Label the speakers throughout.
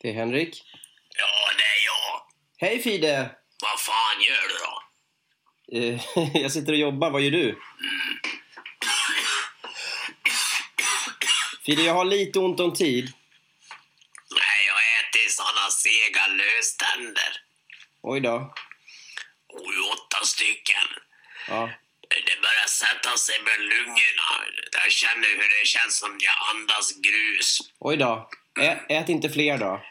Speaker 1: Det är Henrik.
Speaker 2: Ja, det är jag.
Speaker 1: Hej Fide!
Speaker 2: Vad fan gör du då? Mm.
Speaker 1: Eh, Jag sitter och jobbar, vad gör du? Fide, jag har lite ont om tid.
Speaker 2: Nej, jag äter såna sega löständer.
Speaker 1: Oj då.
Speaker 2: Oj, åtta stycken.
Speaker 1: Ja.
Speaker 2: Det börjar sätta sig med lungorna. Jag känner hur det känns som jag andas grus.
Speaker 1: Oj då. Ä- ät inte fler då.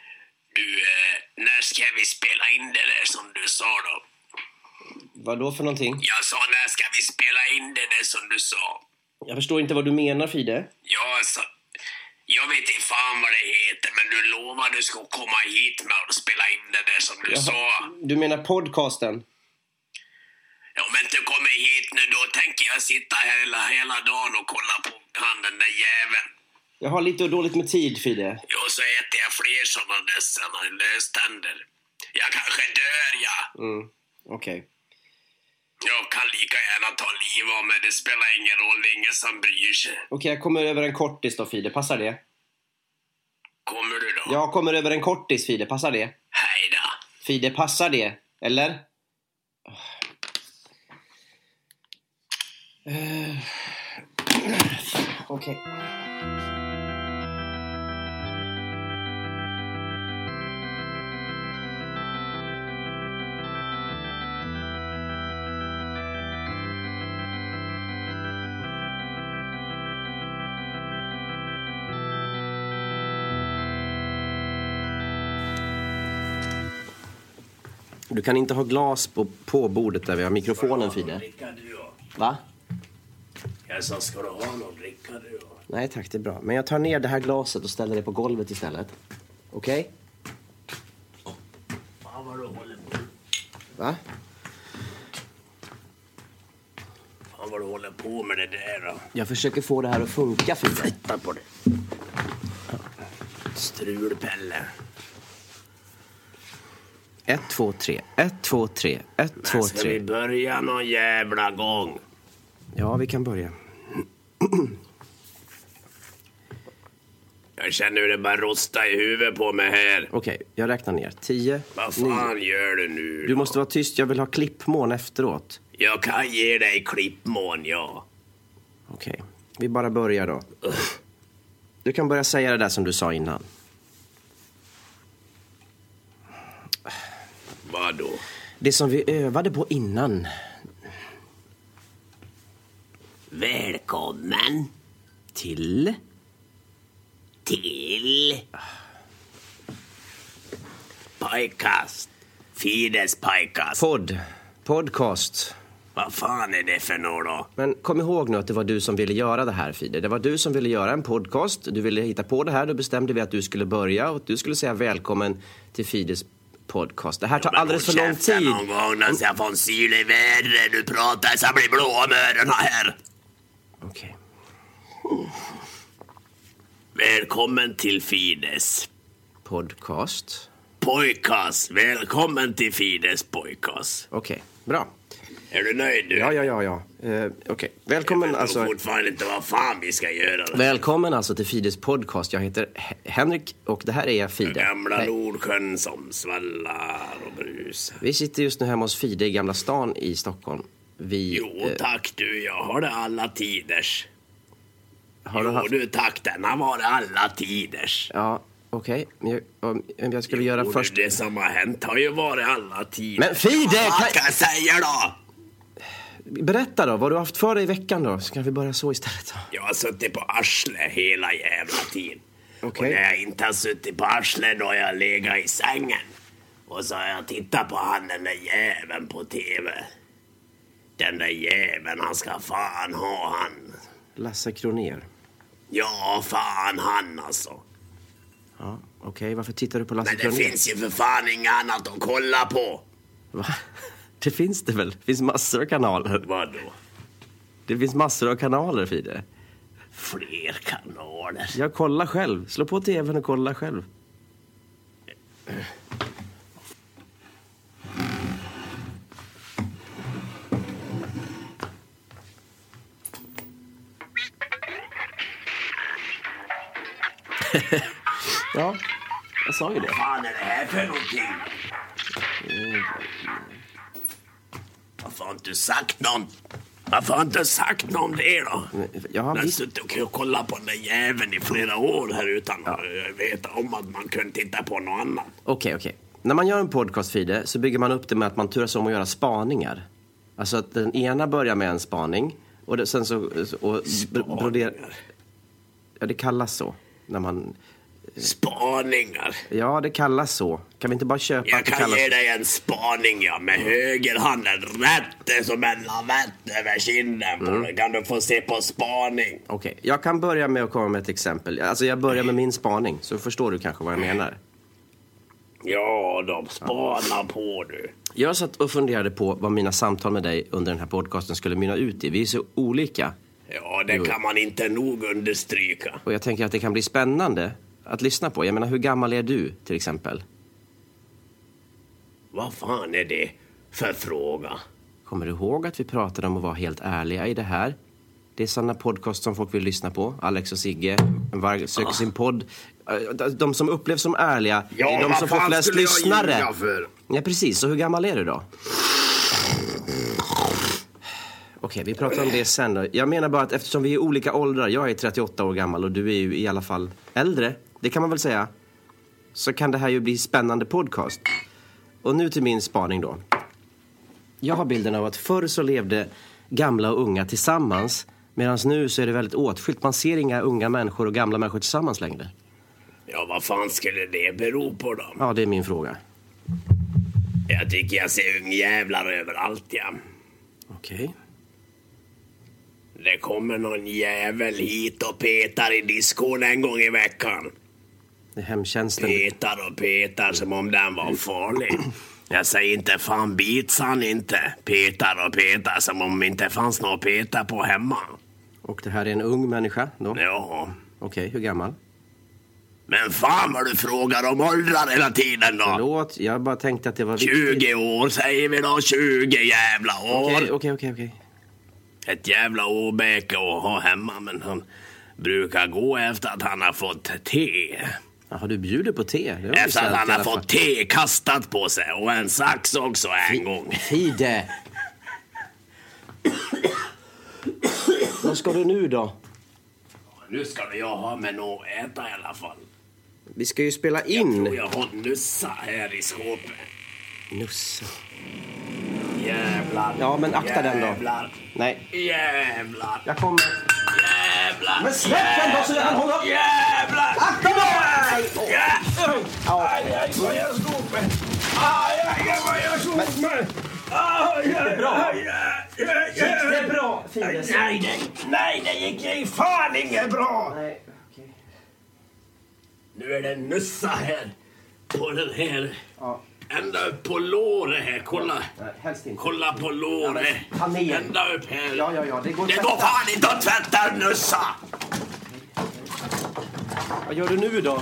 Speaker 2: Du, eh, när ska vi spela in det där som du sa då?
Speaker 1: Vad då för någonting?
Speaker 2: Jag sa, när ska vi spela in det där som du sa?
Speaker 1: Jag förstår inte vad du menar Fide.
Speaker 2: Jag sa... Jag vet inte fan vad det heter, men du lovade du skulle komma hit med och spela in det där som du sa.
Speaker 1: Du menar podcasten?
Speaker 2: Ja, Om inte du kommer hit nu då tänker jag sitta här hela, hela dagen och kolla på han den där jäveln.
Speaker 1: Jag har lite dåligt med tid Fide.
Speaker 2: Ja, Och så äter jag fler sådana där såna löständer. Jag kanske dör ja.
Speaker 1: Mm. Okej.
Speaker 2: Jag kan lika gärna ta liv av mig, det spelar ingen roll, det är ingen som bryr sig.
Speaker 1: Okej, jag kommer över en kortis då Fide. Passar det?
Speaker 2: Kommer du då?
Speaker 1: Jag kommer över en kortis Fide. Passar det?
Speaker 2: Hej då.
Speaker 1: Fide, passar det? Eller? Eh, Okej. Du kan inte ha glas på, på bordet där vi har mikrofonen, Fide.
Speaker 2: Dricka du och.
Speaker 1: Va?
Speaker 2: Jag sa, ska du ha någon dricka du och?
Speaker 1: Nej tack, det är bra. Men jag tar ner det här glaset och ställer det på golvet istället. Okej?
Speaker 2: Fan vad du håller på.
Speaker 1: Va?
Speaker 2: Fan vad du håller på med det där då.
Speaker 1: Jag försöker få det här att funka, Fide.
Speaker 2: Titta på det. Strulpelle.
Speaker 1: Ett, två, tre. Ett, två, tre. Ett, två,
Speaker 2: Ska vi
Speaker 1: tre.
Speaker 2: börja någon jävla gång?
Speaker 1: Ja, vi kan börja.
Speaker 2: Jag känner hur det bara rostar i huvudet på mig här.
Speaker 1: Okej, jag räknar ner. Tio,
Speaker 2: Vad
Speaker 1: nio.
Speaker 2: fan gör du nu?
Speaker 1: Du måste vara tyst, jag vill ha klippmån efteråt.
Speaker 2: Jag kan ge dig klippmån, ja.
Speaker 1: Okej, vi bara börjar då. Du kan börja säga det där som du sa innan.
Speaker 2: Vadå?
Speaker 1: Det som vi övade på innan.
Speaker 2: Välkommen
Speaker 1: Till?
Speaker 2: till... Pajkast. Fides pajkast.
Speaker 1: Podd. Podcast.
Speaker 2: Vad fan är det för något då?
Speaker 1: Men kom ihåg nu att det var du som ville göra det här, Fide. Det var du som ville göra en podcast. Du ville hitta på det här. Då bestämde vi att du skulle börja och att du skulle säga välkommen till Fides podcast. Det här tar alldeles för
Speaker 2: Håll
Speaker 1: lång
Speaker 2: käften
Speaker 1: tid.
Speaker 2: någon gång när jag får en syl i vädret. Du pratar så jag blir blå om öronen här.
Speaker 1: Okej.
Speaker 2: Välkommen till Fides
Speaker 1: Podcast.
Speaker 2: pojkas. Välkommen till Fides pojkas.
Speaker 1: Okej, bra.
Speaker 2: Är du nöjd nu?
Speaker 1: Ja, ja, ja, ja. Eh, Okej, välkommen
Speaker 2: Jag
Speaker 1: alltså.
Speaker 2: förstår fortfarande inte vad fan vi ska göra.
Speaker 1: Välkommen alltså till Fides podcast. Jag heter He- Henrik och det här är Fide.
Speaker 2: Gamla
Speaker 1: Nej,
Speaker 2: Nordsjön som svallar och brusar.
Speaker 1: Vi sitter just nu hemma hos Fide i Gamla stan i Stockholm. Vi,
Speaker 2: Jo
Speaker 1: eh,
Speaker 2: tack du, jag har det alla tiders.
Speaker 1: har du
Speaker 2: jo
Speaker 1: haft...
Speaker 2: du tack, denna var det alla tiders.
Speaker 1: Ja, okej. Men jag, om- om jag skulle göra
Speaker 2: Jo,
Speaker 1: först...
Speaker 2: Det som har hänt har ju varit alla tiders.
Speaker 1: Men Fide!
Speaker 2: Vad ska
Speaker 1: Kan...
Speaker 2: jag säga då?
Speaker 1: Berätta då, vad du har haft för dig i veckan då? Så kan vi börja så istället. Då.
Speaker 2: Jag har suttit på arslet hela jävla tiden.
Speaker 1: Okej.
Speaker 2: Och när jag inte har suttit på arslet då har jag legat i sängen. Och så har jag tittat på han den där jäveln på TV. Den där jäveln, han ska fan ha han.
Speaker 1: Lasse Kroner.
Speaker 2: Ja, fan han alltså.
Speaker 1: Ja, okej. Varför tittar du på Lasse
Speaker 2: Men det
Speaker 1: Kroner?
Speaker 2: finns ju för fan inget annat att kolla på.
Speaker 1: Va? Det finns det väl? Det finns massor av kanaler.
Speaker 2: Vadå?
Speaker 1: Det finns massor av kanaler, Fide.
Speaker 2: Fler kanaler?
Speaker 1: Jag kollar själv. Slå på tvn och kolla själv. ja, jag sa ju det.
Speaker 2: fan är det här för någonting? Varför har inte du sagt någon? Varför har inte du sagt någon om det då?
Speaker 1: Jag har
Speaker 2: Jag har
Speaker 1: visst...
Speaker 2: suttit och kollat på den där jäveln i flera år här utan att veta om att man kunde titta på något annat.
Speaker 1: Okej, okej. När man gör en podcast, Fide, så bygger man upp det med att man turas om att göra spaningar. Alltså att den ena börjar med en spaning och det, sen så... Och, br- broder- ja, det kallas så. När man...
Speaker 2: Spaningar.
Speaker 1: Ja, det kallas så. Kan vi inte bara köpa
Speaker 2: Jag
Speaker 1: att det
Speaker 2: kan
Speaker 1: kallas
Speaker 2: ge dig en spaning ja, med högerhanden rätt som en lavett över kinden på
Speaker 1: Mm.
Speaker 2: dig. Kan du få se på spaning?
Speaker 1: Okej, jag kan börja med att komma med ett exempel. Alltså jag börjar med min spaning, så förstår du kanske vad jag menar.
Speaker 2: Ja, de spanar på du.
Speaker 1: Jag satt och funderade på vad mina samtal med dig under den här podcasten skulle mynna ut i. Vi är så olika.
Speaker 2: Ja, det kan man inte nog understryka.
Speaker 1: Och jag tänker att det kan bli spännande att lyssna på. Jag menar, hur gammal är du, till exempel?
Speaker 2: Vad fan är det för fråga?
Speaker 1: Kommer du ihåg att vi pratade om att vara helt ärliga i det här? Det är sådana podcast som folk vill lyssna på. Alex och Sigge en varg söker sin podd. Eh, De som upplevs som ärliga
Speaker 2: Ah. Ja,
Speaker 1: är de
Speaker 2: vad
Speaker 1: som får
Speaker 2: fan
Speaker 1: flest
Speaker 2: skulle jag
Speaker 1: lyssnare.
Speaker 2: ljuga för?
Speaker 1: Ja, precis. Så hur gammal är du då? Okej, vi pratar om det sen då. Jag menar bara att eftersom vi är olika åldrar, jag är 38 år gammal och du är ju i alla fall äldre, det kan man väl säga, så kan det här ju bli spännande podcast. Och nu till min spaning då. Jag har bilden av att förr så levde gamla och unga tillsammans medan nu så är det väldigt åtskilt. Man ser inga unga människor och gamla människor tillsammans längre.
Speaker 2: Ja, vad fan skulle det bero på då?
Speaker 1: Ja, det är min fråga.
Speaker 2: Jag tycker jag ser ungjävlar överallt, ja.
Speaker 1: Okej.
Speaker 2: Det kommer någon jävel hit och petar i diskon en gång i veckan.
Speaker 1: Det är hemtjänsten.
Speaker 2: Petar och petar som om den var farlig. Jag säger inte fan bits han inte. Petar och petar som om det inte fanns något att peta på hemma.
Speaker 1: Och det här är en ung människa då? Okej,
Speaker 2: Ja.
Speaker 1: hur gammal?
Speaker 2: Men fan vad du frågar om åldrar hela tiden då.
Speaker 1: Förlåt, jag bara tänkte att det var viktigt.
Speaker 2: 20 år säger vi då, 20 jävla år.
Speaker 1: Okej, okej, okej. okej.
Speaker 2: Ett jävla åbäke att ha hemma men han brukar gå efter att han har fått te.
Speaker 1: Jaha, du bjuder på te? Det var ju
Speaker 2: Efter att
Speaker 1: snällt
Speaker 2: han
Speaker 1: i
Speaker 2: har
Speaker 1: alla fall.
Speaker 2: fått te kastat på sig och en sax också en gång.
Speaker 1: Fide! Vad ska du nu då?
Speaker 2: Nu ska väl jag ha med något att äta i alla fall.
Speaker 1: Vi ska ju spela
Speaker 2: Och
Speaker 1: in.
Speaker 2: jag har nussa här i skåpet.
Speaker 1: Nussa.
Speaker 2: Jävlar.
Speaker 1: Ja, men akta den då.
Speaker 2: Jävlar.
Speaker 1: Nej,
Speaker 2: Jävlar.
Speaker 1: jag kommer.
Speaker 2: Jävlar.
Speaker 1: Men släpp den då så jag kan hålla upp.
Speaker 2: Jävlar.
Speaker 1: Akta
Speaker 2: Aj, aj. Aj, aj, vad jag slog mig. Aj, aj, aj, vad jag slog mig. Aj, aj,
Speaker 1: bra?
Speaker 2: aj, aj, aj, aj.
Speaker 1: bra,
Speaker 2: Nej, nej, det- nej, det gick ju fan inget bra!
Speaker 1: Nej, okej.
Speaker 2: Nu är det nussa här. På den här.
Speaker 1: Ja.
Speaker 2: Ända upp på låret här. Kolla.
Speaker 1: Nej, helst inte.
Speaker 2: Kolla på låret.
Speaker 1: men ta ner.
Speaker 2: Ända upp här.
Speaker 1: Ja, ja, ja, det går
Speaker 2: Det
Speaker 1: tvätta.
Speaker 2: går fan inte att tvätta en nussa!
Speaker 1: Vad gör du nu då?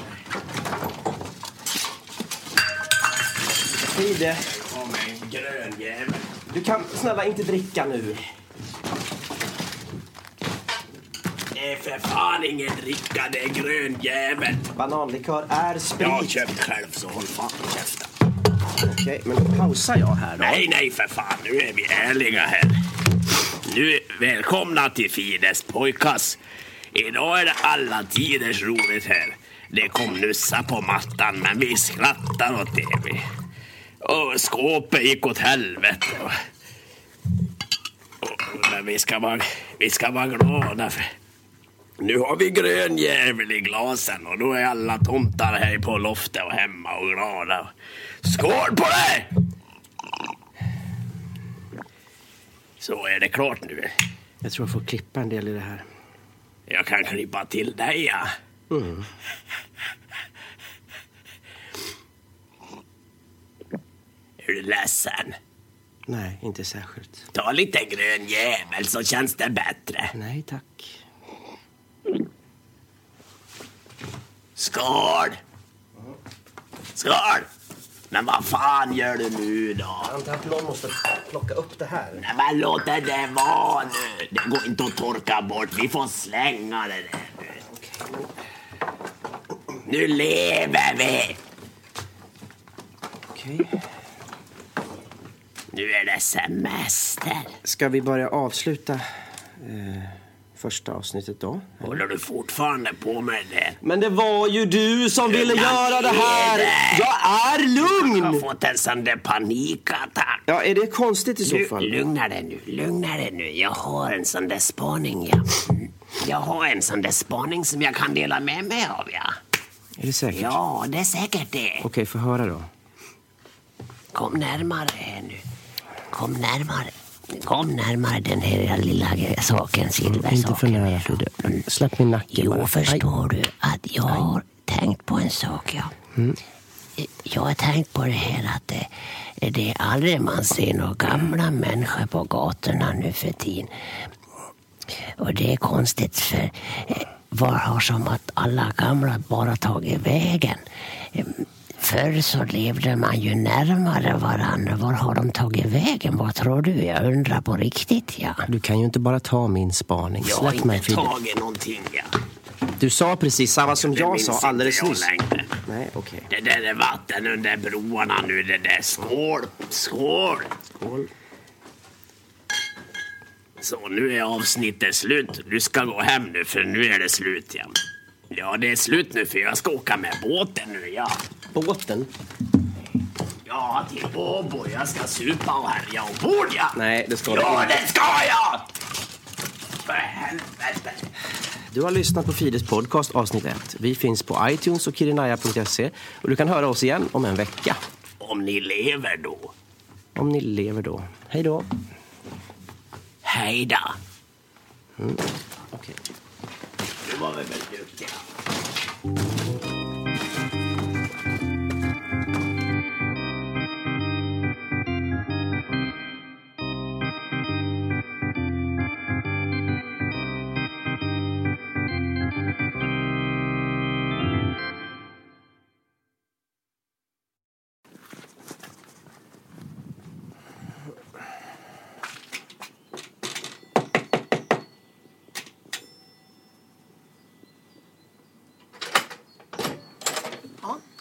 Speaker 1: Fide.
Speaker 2: Kom en grön jävel.
Speaker 1: Du kan snälla inte dricka nu.
Speaker 2: Det är för fan ingen dricka, det är grön jävel.
Speaker 1: Bananlikör är sprit.
Speaker 2: Jag har köpt själv så håll fan käften.
Speaker 1: Okej, men pausar jag här då?
Speaker 2: Nej, nej för fan, nu är vi ärliga här. Nu, välkomna till Fides pojkas. Idag är det alla tiders roligt här. Det kom nussa på mattan, men vi skrattar åt det vi. Och skåpet gick åt helvete. Och- och- Men vi ska vara, vi ska vara glada för nu har vi grön jävel i glasen och då är alla tomtar här på loftet och hemma och glada. Skål på dig! Så är det klart nu.
Speaker 1: Jag tror jag får klippa en del i det här.
Speaker 2: Jag kan klippa till dig, ja.
Speaker 1: Mm.
Speaker 2: Är du ledsen?
Speaker 1: Nej, inte särskilt.
Speaker 2: Ta lite grön jävel så känns det bättre.
Speaker 1: Nej, tack.
Speaker 2: Skål! Skål! Men vad fan gör du nu då?
Speaker 1: antar att någon måste plocka upp det här.
Speaker 2: Nej, men låt det där vara nu. Det går inte att torka bort. Vi får slänga det där nu. Nu lever vi!
Speaker 1: Okej.
Speaker 2: Nu är det semester.
Speaker 1: Ska vi börja avsluta eh, första avsnittet då?
Speaker 2: Håller du fortfarande på med det?
Speaker 1: Men det var ju du som ville
Speaker 2: Lugna
Speaker 1: göra det
Speaker 2: ner
Speaker 1: här!
Speaker 2: dig.
Speaker 1: Jag är
Speaker 2: Jag har
Speaker 1: lugn!
Speaker 2: fått en sån där panikattack.
Speaker 1: Ja, är det konstigt i så
Speaker 2: Lu-
Speaker 1: fall?
Speaker 2: Lugna dig nu, lugna dig nu. Jag har en sån där spaning, ja. Jag har en sån där spaning som jag kan dela med mig av, ja.
Speaker 1: Är det säkert?
Speaker 2: Ja, det är säkert det.
Speaker 1: Okej, få höra då.
Speaker 2: Kom närmare här nu. Kom närmare. Kom närmare den här lilla saken, silversaken. Mm.
Speaker 1: Frida. Släpp min nacke
Speaker 2: Jo, förstår du att jag har tänkt på en sak, ja.
Speaker 1: Mm.
Speaker 2: Jag har tänkt på det här att det, det är aldrig man ser några gamla människor på gatorna nu för tiden. Och det är konstigt för eh, var har som att alla gamla bara tagit vägen? Eh, Förr så levde man ju närmare varandra. Var har de tagit vägen? Vad tror du? Jag undrar på riktigt, ja.
Speaker 1: Du kan ju inte bara ta min spaning. Släpp mig Frida.
Speaker 2: tagit någonting, ja.
Speaker 1: Du sa precis samma som jag
Speaker 2: minns inte
Speaker 1: sa alldeles
Speaker 2: jag
Speaker 1: nyss.
Speaker 2: längre.
Speaker 1: Nej, okej.
Speaker 2: Det där är vatten under broarna nu, det där. Skål! Skål! Skål. Så, nu är avsnittet slut. Du ska gå hem nu, för nu är det slut igen. Ja, det är slut nu, för jag ska åka med båten nu, ja.
Speaker 1: Båten?
Speaker 2: Ja, till Åbo. Jag ska supa och härja ombord, ja.
Speaker 1: Nej, det ska du
Speaker 2: Ja,
Speaker 1: inte.
Speaker 2: det ska jag! För helvete!
Speaker 1: Du har lyssnat på Fides podcast avsnitt 1. Vi finns på iTunes och kirinaya.se och du kan höra oss igen om en vecka.
Speaker 2: Om ni lever då.
Speaker 1: Om ni lever då. Hej då.
Speaker 2: Hej då.
Speaker 1: Okej.
Speaker 2: Nu var vi väl duktiga.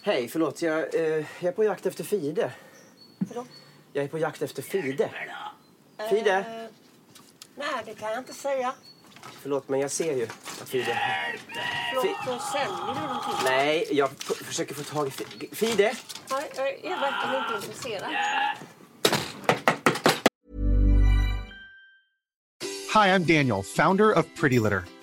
Speaker 1: Hej, förlåt. Jag, eh, jag är på jakt efter Fide.
Speaker 3: Förlåt?
Speaker 1: Jag är på jakt efter Fide. Fide!
Speaker 3: Eh, nej, det kan jag inte säga.
Speaker 1: Förlåt, men jag ser ju att Fide...
Speaker 3: Förlåt, då säljer du någonting.
Speaker 1: Nej, jag f- försöker få tag i Fi- Fide.
Speaker 3: Nej, jag är verkligen inte intresserad.
Speaker 4: Hi, I'm Daniel, founder of Pretty Litter.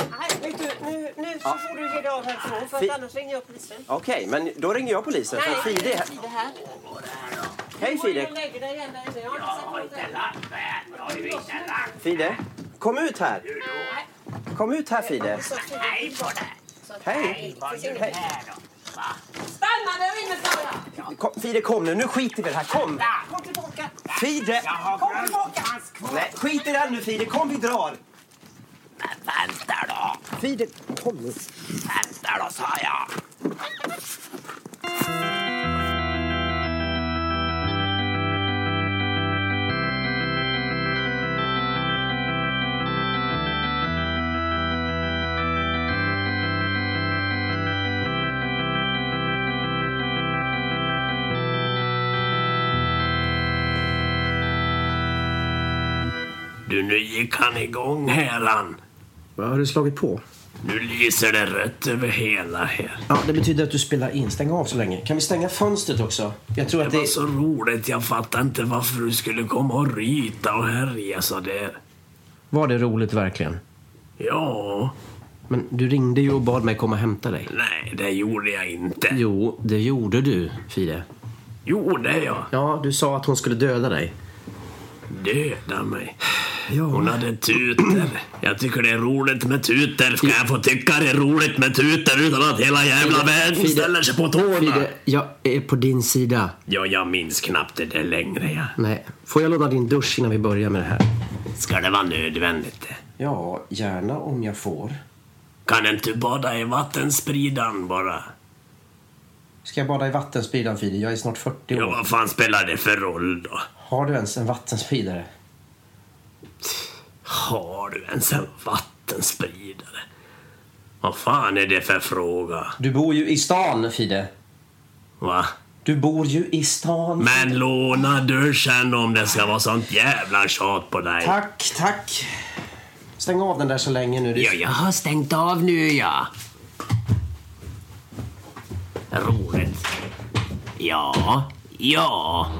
Speaker 3: Nej, vet du, nu,
Speaker 5: nu så får du ge dig av härifrån för
Speaker 1: Fi-
Speaker 5: att annars ringer jag polisen.
Speaker 1: Okej, men då ringer jag polisen. För Fide... är här.
Speaker 5: Fide här. Gå
Speaker 1: Hej
Speaker 5: in och
Speaker 1: Fide!
Speaker 5: lägg dig gärna i det. Jag har inte sett något än.
Speaker 1: Fide! Kom ut här! Kom ut här Fide!
Speaker 5: Så att Fide-
Speaker 1: Hej! Hej.
Speaker 5: Stanna, det ringer för dig.
Speaker 1: Kom, Fide kom nu, nu skiter vi i det här. Kom!
Speaker 5: Kom tillbaka.
Speaker 1: Fide!
Speaker 5: Kom tillbaka.
Speaker 1: Nej, skit i det här nu Fide, kom vi drar!
Speaker 6: Vänta då!
Speaker 1: Fide, kom nu.
Speaker 6: Vänta då, sa jag! Du, nu gick han igång här han.
Speaker 1: Vad har du slagit på?
Speaker 6: Nu lyser det rött över hela här.
Speaker 1: Ja, det betyder att du spelar in. Stäng av så länge. Kan vi stänga fönstret också? Jag tror att
Speaker 6: Det var
Speaker 1: det...
Speaker 6: så roligt, jag fattar inte varför du skulle komma och ryta och härja sådär.
Speaker 1: Var det roligt verkligen?
Speaker 6: Ja,
Speaker 1: Men du ringde ju och bad mig komma och hämta dig.
Speaker 6: nej det gjorde jag inte.
Speaker 1: Jo, det gjorde du, Fide.
Speaker 6: Gjorde jag?
Speaker 1: Ja, du sa att hon skulle döda dig.
Speaker 6: Döda mig.
Speaker 1: Ja.
Speaker 6: Hon hade tuter. Jag tycker det är roligt med tuter. Ska jag få tycka det är roligt med tuter utan att hela jävla
Speaker 1: Fide,
Speaker 6: världen
Speaker 1: Fide,
Speaker 6: ställer sig på tårna?
Speaker 1: Fide, jag är på din sida.
Speaker 6: Ja, jag minns knappt det där längre. ja.
Speaker 1: Nej, får jag låna din dusch innan vi börjar med det här?
Speaker 6: Ska det vara nödvändigt?
Speaker 1: Ja, gärna om jag får.
Speaker 6: Kan inte du bada i vattenspridan bara?
Speaker 1: Ska jag bada i vattenspridaren, Fide? Jag är snart 40 år.
Speaker 6: Ja, vad fan spelar det för roll då?
Speaker 1: Har du ens en vattenspridare?
Speaker 6: Har du ens en vattenspridare? Vad fan är det för fråga?
Speaker 1: Du bor ju i stan, Fide.
Speaker 6: Va?
Speaker 1: Du bor ju i stan.
Speaker 6: Men låna duschen om det ska vara sånt jävla tjat på dig.
Speaker 1: Tack, tack. Stäng av den där så länge nu.
Speaker 6: Ja, jag har stängt av nu, ja. Roligt. Ja, ja.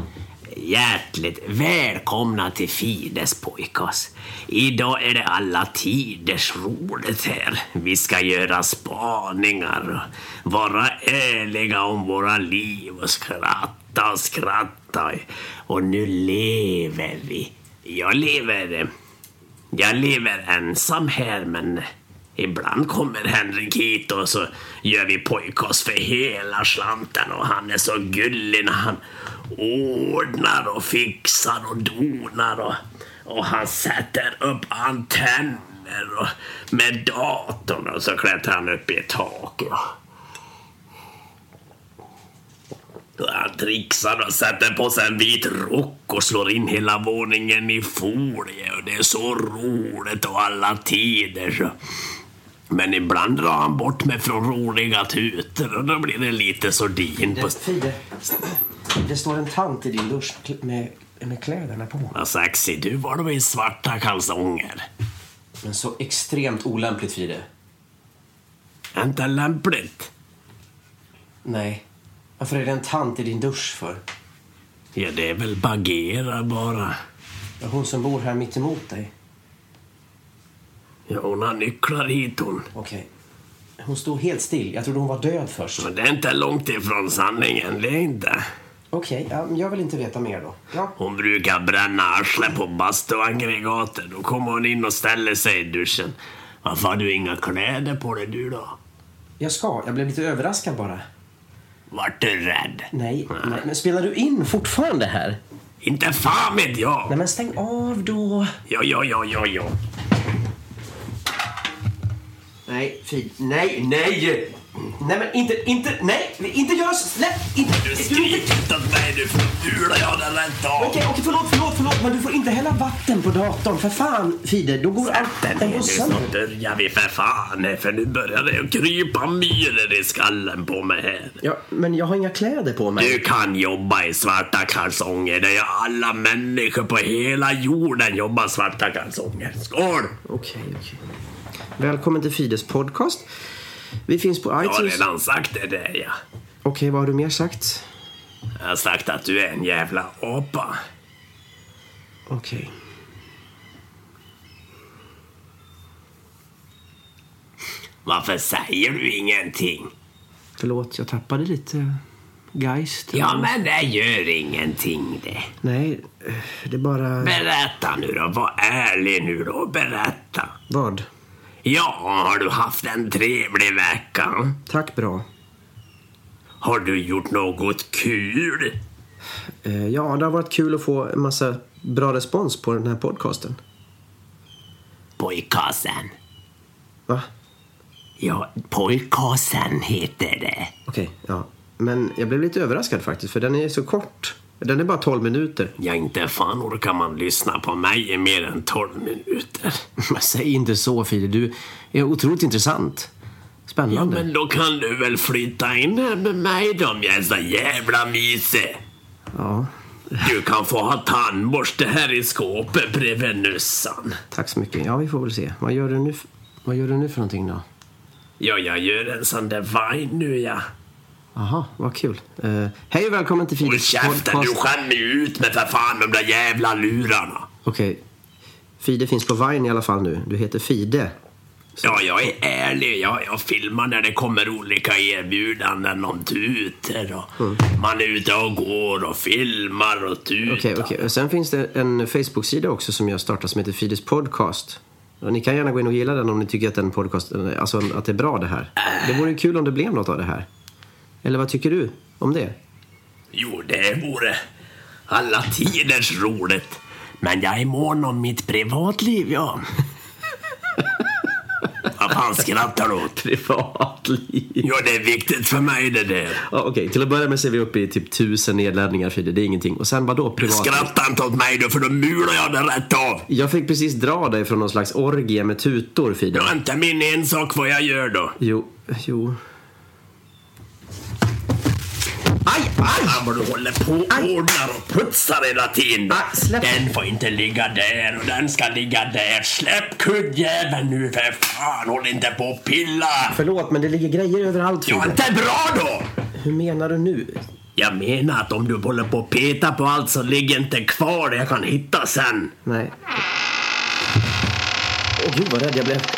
Speaker 6: Hjärtligt välkomna till Fides pojkas. Idag är det alla tiders roligt här. Vi ska göra spaningar och vara ärliga om våra liv och skratta och skratta. Och nu lever vi. Jag lever. eh, jag lever ensam här men ibland kommer Henrik hit och så gör vi pojkas för hela slanten och han är så gullig när han ordnar och fixar och donar och, och han sätter upp antenner och med datorn och så klättrar han upp i ett tak. Ja. Han trixar och sätter på sig en vit rock och slår in hela våningen i folie och det är så roligt och alla tider så. Men ibland drar han bort mig från roliga tutor och då blir det lite sordin på...
Speaker 1: Det, Fide, det står en tant i din dusch kl- med, med kläderna på.
Speaker 6: Vad sexig du var då i svarta kalsonger.
Speaker 1: Men så extremt olämpligt, Fide.
Speaker 6: Inte lämpligt.
Speaker 1: Nej. Varför är det en tant i din dusch för?
Speaker 6: Ja, det är väl bagera bara.
Speaker 1: Ja, Hon som bor här mitt emot dig.
Speaker 6: Ja, hon har nycklar hit hon.
Speaker 1: Okej. Hon stod helt still. Jag trodde hon var död först.
Speaker 6: Men det är inte långt ifrån sanningen, det är inte.
Speaker 1: Okej, ja, men jag vill inte veta mer då. Ja.
Speaker 6: Hon brukar bränna arslet på bastuaggregatet. Då kommer hon in och ställer sig i duschen. Varför har du inga kläder på dig du då?
Speaker 1: Jag ska. Jag blev lite överraskad bara.
Speaker 6: Vart du rädd?
Speaker 1: Nej, nej. Men spelar du in fortfarande här?
Speaker 6: Inte fan vet jag!
Speaker 1: Nej, men stäng av då.
Speaker 6: Ja, ja, ja, ja, ja.
Speaker 1: Nej, Fid. Nej, nej! Nej, men inte, inte, nej! Inte göra så! Släpp! Inte!
Speaker 6: Du
Speaker 1: Okej,
Speaker 6: skriker inte åt mig nu för då fular jag den rätt av.
Speaker 1: okej, förlåt, förlåt, förlåt. Men du får inte hälla vatten på datorn. För fan, Fide. Då går allt... Den
Speaker 6: nu
Speaker 1: går
Speaker 6: snart
Speaker 1: sönder.
Speaker 6: börjar vi för fan för nu börjar det att krypa myror i skallen på mig här.
Speaker 1: Ja, men jag har inga kläder på mig.
Speaker 6: Du kan jobba i svarta kalsonger. Det gör alla människor på hela jorden jobbar svarta kalsonger. Skål!
Speaker 1: Okej, okej. Välkommen till Fides podcast. Vi finns på
Speaker 6: Jag har
Speaker 1: iTunes.
Speaker 6: redan sagt det där ja.
Speaker 1: Okej, vad har du mer sagt?
Speaker 6: Jag har sagt att du är en jävla apa.
Speaker 1: Okej.
Speaker 6: Varför säger du ingenting?
Speaker 1: Förlåt, jag tappade lite geist.
Speaker 6: Ja, men det gör ingenting det.
Speaker 1: Nej, det är bara...
Speaker 6: Berätta nu då, var ärlig nu då, berätta.
Speaker 1: Vad?
Speaker 6: Ja, har du haft en trevlig vecka?
Speaker 1: Tack bra.
Speaker 6: Har du gjort något kul?
Speaker 1: Eh, Ja, det har varit kul att få en massa bra respons på den här podcasten.
Speaker 6: Pojkasen.
Speaker 1: Va?
Speaker 6: Ja, pojkasen heter det.
Speaker 1: Okej, ja. Men jag blev lite överraskad faktiskt, för den är så kort. Den är bara 12 minuter.
Speaker 6: Ja, inte fan orkar man lyssna på mig i mer än 12 minuter.
Speaker 1: Men säg inte så, Fide. Du är otroligt intressant.
Speaker 6: Ja,
Speaker 1: Spännande.
Speaker 6: men då kan du väl flytta in här med mig då om jag är så jävla mysig.
Speaker 1: Ja,
Speaker 6: Du kan få ha tandborste här i skåpet bredvid nussan.
Speaker 1: tack så mycket. Ja, vi får väl se. Vad gör du nu, f- vad gör du nu för någonting då?
Speaker 6: Ja, jag gör en sån där vine nu ja.
Speaker 1: Aha, vad kul. Eh, hej och välkommen till
Speaker 6: Håll
Speaker 1: Fides
Speaker 6: käften, du skämmer ju ut mig för fan de där jävla lurarna.
Speaker 1: Okej. Fide finns på Vine i alla fall nu. Du heter Fide.
Speaker 6: Ja, jag är ärlig. Jag, jag filmar när det kommer olika erbjudanden om tuter. Och
Speaker 1: Mm.
Speaker 6: Man är ute och går och filmar och tutar.
Speaker 1: Okej, okej. Och Sen finns det en Facebook-sida också som jag startat som heter Fides podcast. Och ni kan gärna gå in och gilla den om ni tycker att den podcasten, alltså att det är bra det här. Det vore ju kul om det blev något av det här. Eller vad tycker du om det?
Speaker 6: Jo, det vore alla tiders roligt. Men jag är mån om mitt privatliv, ja. Vad fan skrattar du åt?
Speaker 1: Privatliv.
Speaker 6: Ja, det är viktigt för mig det där.
Speaker 1: Ja, okej, till att börja med så är vi uppe i typ tusen nedladdningar Fide, det är ingenting. Och sen vadå
Speaker 6: Du
Speaker 1: privatliv?
Speaker 6: skrattar inte åt mig då, för då mular jag dig rätt av.
Speaker 1: Jag fick precis dra dig från någon slags orgie med tutor Fide.
Speaker 6: Det var inte min ensak vad jag gör då.
Speaker 1: Jo, jo.
Speaker 6: Aj, aj! Ja, men du håller på och ordnar och putsar hela tiden.
Speaker 1: Aj, släpp.
Speaker 6: Den får inte ligga där och den ska ligga där. Släpp kuddjäveln nu för fan. Håll inte på och pilla.
Speaker 1: Förlåt, men det ligger grejer överallt
Speaker 6: Ja,
Speaker 1: Fide.
Speaker 6: inte bra då!
Speaker 1: Hur menar du nu?
Speaker 6: Jag menar att om du håller på och petar på allt så ligger inte kvar det jag kan hitta sen.
Speaker 1: Nej. Åh gud vad rädd jag blev.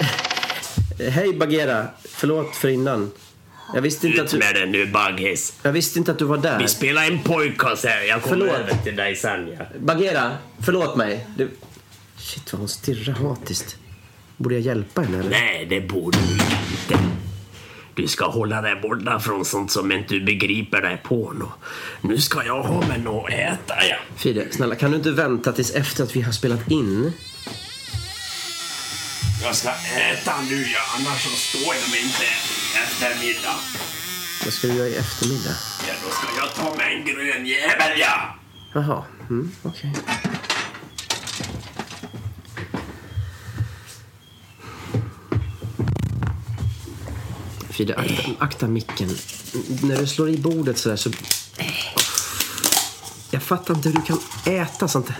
Speaker 1: Eh, Hej Bagheera, förlåt för innan. Jag visste inte att
Speaker 6: Ut
Speaker 1: du,
Speaker 6: med det nu baggis.
Speaker 1: jag visste inte att du var där.
Speaker 6: Vi spelar en pojkas här. Jag kommer
Speaker 1: Förlåt.
Speaker 6: över till dig sen. Ja.
Speaker 1: Bagheera, förlåt mig. Du... Shit vad hon stirrar hatiskt. Borde jag hjälpa henne eller?
Speaker 6: Nej, det borde du inte. Du ska hålla dig borta från sånt som inte du begriper dig på. Nå. Nu ska jag ha mig något att äta. Ja.
Speaker 1: Fide, snälla kan du inte vänta tills efter att vi har spelat in?
Speaker 6: Jag ska äta nu, ja. annars så står jag mig inte i eftermiddag.
Speaker 1: Vad ska du göra i eftermiddag?
Speaker 6: Ja, då ska jag ta mig en grön jävel, ja.
Speaker 1: Jaha, mm, okej. Frida, akta, akta micken. N- När du slår i bordet sådär så... Jag fattar inte hur du kan äta sånt här.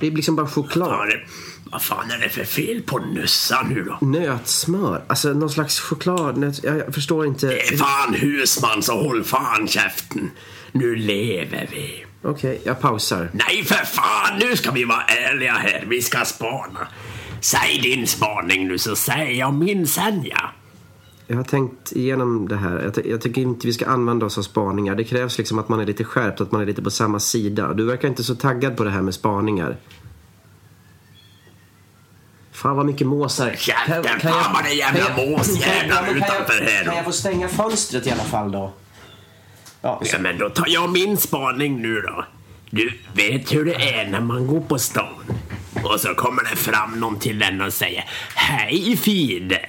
Speaker 1: Det är liksom bara
Speaker 6: Vad,
Speaker 1: choklad.
Speaker 6: är det, vad fan är det för fel på nussan nu då?
Speaker 1: Nötsmör. Alltså någon slags choklad. nöt- Jag, jag förstår inte.
Speaker 6: Det är fan husman så håll fan käften. Nu lever vi.
Speaker 1: Okej, jag pausar.
Speaker 6: Nej för fan, nu ska vi vara ärliga här. Vi ska spana. Säg din spaning nu så säger jag min sen ja.
Speaker 1: Jag har tänkt igenom det här. Jag, ty- jag tycker inte vi ska använda oss av spaningar. Det krävs liksom att man är lite skärpt, att man är lite på samma sida. Du verkar inte så taggad på det här med spaningar. Fan vad mycket måsar.
Speaker 6: Käften, fan vad det är jävla
Speaker 1: kan jag-
Speaker 6: måsjävlar
Speaker 1: Ja, men kan jag-
Speaker 6: utanför här då.
Speaker 1: Kan jag få stänga fönstret i alla fall då? Ja,
Speaker 6: Ja, men då tar jag min spaning nu då. Du vet hur det är när man går på stan. Och så kommer det fram någon till en och säger Hej Fide.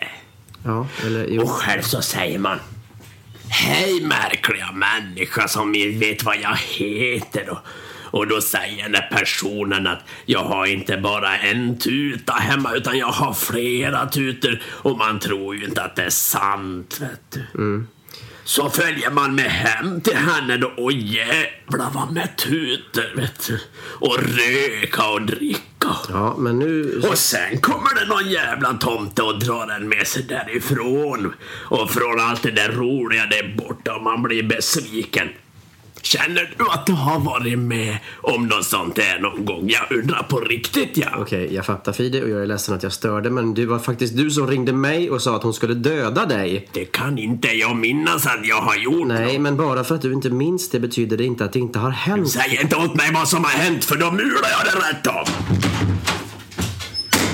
Speaker 1: ja eller jo.
Speaker 6: Och själv så säger man Hej märkliga människa som inte vet vad jag heter. Och, och då säger den här personen att jag har inte bara en tuta hemma utan jag har flera tutor. Och man tror ju inte att det är sant vet du. Så följer man med hem till henne då och jävlar vad med tutor vet du. Och röka och dricka.
Speaker 1: Ja, men nu...
Speaker 6: Och sen kommer det någon jävla tomte och drar den med sig därifrån. Och från allt det där roliga där borta och man blir besviken.
Speaker 7: Känner du att du har varit med om något sånt här någon gång? Jag undrar på riktigt ja.
Speaker 1: Okej, jag fattar Fide och jag är ledsen att jag störde men det var faktiskt du som ringde mig och sa att hon skulle döda dig.
Speaker 7: Det kan inte jag minnas att jag har gjort.
Speaker 1: Nej, men bara för att du inte minns det betyder det inte att det inte har hänt.
Speaker 7: Säg inte åt mig vad som har hänt för då mular jag det rätt av.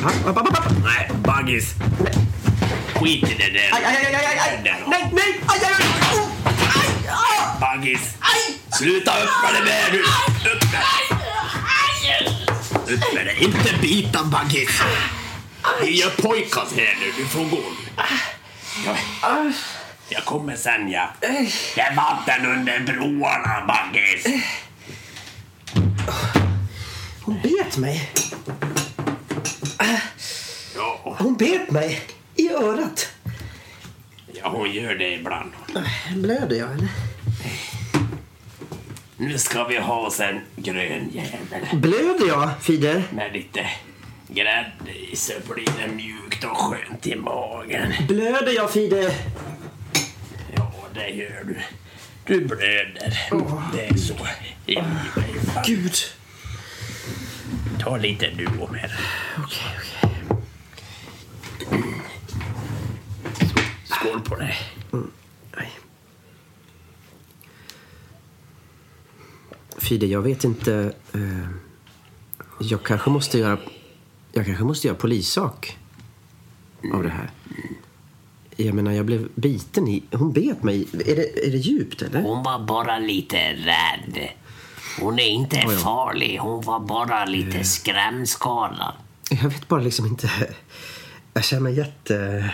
Speaker 1: App, app, app, app.
Speaker 7: Nej, baggis. Skit i det där.
Speaker 1: Aj, aj, aj, aj, aj, aj.
Speaker 7: Där.
Speaker 1: Nej, nej! Aj, aj, aj! Oh! Aj, ah!
Speaker 7: Baggis. Sluta upp med det där nu. Upp med det. Upp med det. Inte bita baggis. Vi är pojkar här nu. Du får gå. Jag, jag kommer sen ja. Det är vatten under broarna baggis.
Speaker 1: Hon bet mig.
Speaker 7: Ja,
Speaker 1: Hon bet mig. I örat.
Speaker 7: ja, hon gör det ibland.
Speaker 1: Blöder jag eller?
Speaker 7: Nu ska vi ha oss en grön jävel.
Speaker 1: Blöder jag, Fide?
Speaker 7: Med lite grädde i så blir det mjukt och skönt i magen.
Speaker 1: Blöder jag, Fide?
Speaker 7: Ja, det gör du. Du blöder. Det är så. I mig.
Speaker 1: Gud.
Speaker 7: Ta lite du om här.
Speaker 1: Okej, okej.
Speaker 7: Mm. Skål på dig.
Speaker 1: Nej. Fide, jag vet inte. eh, jag kanske måste göra... Jag kanske måste göra polissak av det här. Jag menar, jag blev biten i... Hon bet mig. Är det, är det djupt, eller?
Speaker 6: Hon var bara lite rädd. Hon är inte farlig, hon var bara
Speaker 1: Eh.
Speaker 6: lite skrämskadad.
Speaker 1: Jag vet bara liksom inte... Jag känner mig jätte...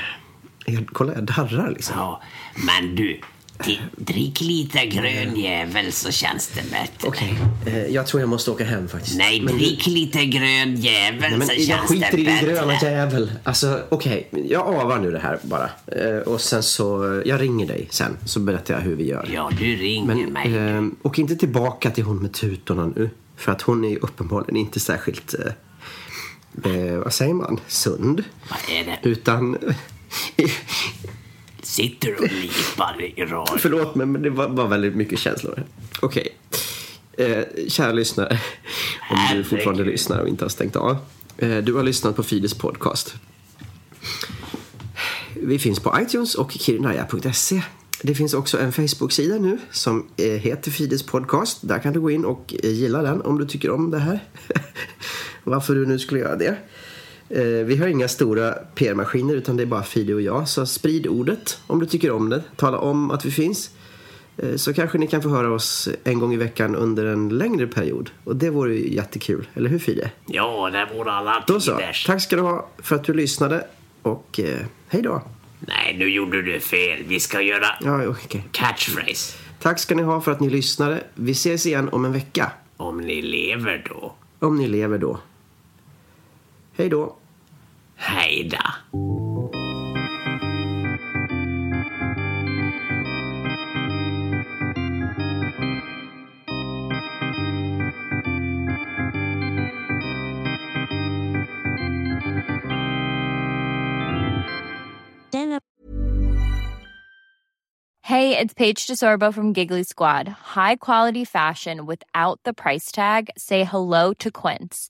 Speaker 1: Jag, kolla, jag darrar liksom.
Speaker 6: Ja, men du, ti- drick
Speaker 1: Eh.
Speaker 6: lite grön jävel så känns det bättre.
Speaker 1: Okej, eh, jag tror jag måste åka hem faktiskt.
Speaker 6: Nej, drick lite grön jävel
Speaker 1: Nej,
Speaker 6: så
Speaker 1: men jag
Speaker 6: känns det
Speaker 1: skiter i din gröna
Speaker 6: bättre.
Speaker 1: jävel. Alltså, okej. Jag avar nu det här bara. Eh, och sen så, jag ringer dig sen så berättar jag hur vi gör.
Speaker 6: Ja, du ringer
Speaker 1: men,
Speaker 6: mig.
Speaker 1: eh, och inte tillbaka till hon med tutorna nu. För att hon är ju uppenbarligen inte särskilt, eh, eh, vad säger man, sund.
Speaker 6: Vad är det?
Speaker 1: Utan,
Speaker 6: Sitter du och lipar i radion?
Speaker 1: förlåt mig men det var, var väldigt mycket känslor. Okej. Eh, kära lyssnare, om du
Speaker 6: Herregud.
Speaker 1: fortfarande lyssnar och inte har stängt av. Eh, du har lyssnat på Fides podcast. Vi finns på iTunes och kirinaya.se. Det finns också en Facebook-sida nu som eh, heter Fides podcast. Där kan du gå in och eh, gilla den om du tycker om det här. Varför du nu skulle göra det. Eh, Vi har inga stora PR-maskiner utan det är bara Fide och jag. Så sprid ordet om du tycker om det. Tala om att vi finns. Eh, Så kanske ni kan få höra oss en gång i veckan under en längre period. Och det vore ju jättekul. Eller hur Fide?
Speaker 6: Ja, det vore alla
Speaker 1: Då så.
Speaker 6: tiders.
Speaker 1: Tack ska du ha för att du lyssnade. Och eh, hej då.
Speaker 6: Nej, nu gjorde du fel. Vi ska göra
Speaker 1: Ja, okej.
Speaker 6: catchphrase.
Speaker 1: Tack ska ni ha för att ni lyssnade. Vi ses igen om en vecka.
Speaker 6: Om ni lever då.
Speaker 1: Om ni lever då. Hej då.
Speaker 6: Hejda.
Speaker 2: Hey, it's Paige DeSorbo from Giggly Squad. High quality fashion without the price tag. Say hello to Quince.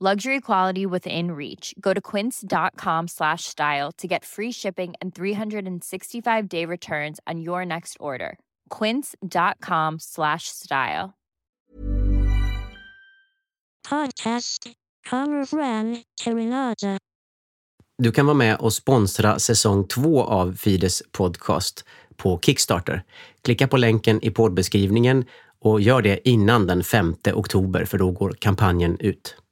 Speaker 2: Luxury quality within reach. Go to quince.com slash style to get free shipping and 365 day returns on your next order. Quince.com slash style.
Speaker 8: Podcast
Speaker 9: Colorbrand Terminata.
Speaker 6: Du kan vara med och sponsra säsong två av Fides podcast på Kickstarter. Klicka på länken i poddbeskrivningen och gör det innan den 5 oktober för då går kampanjen ut.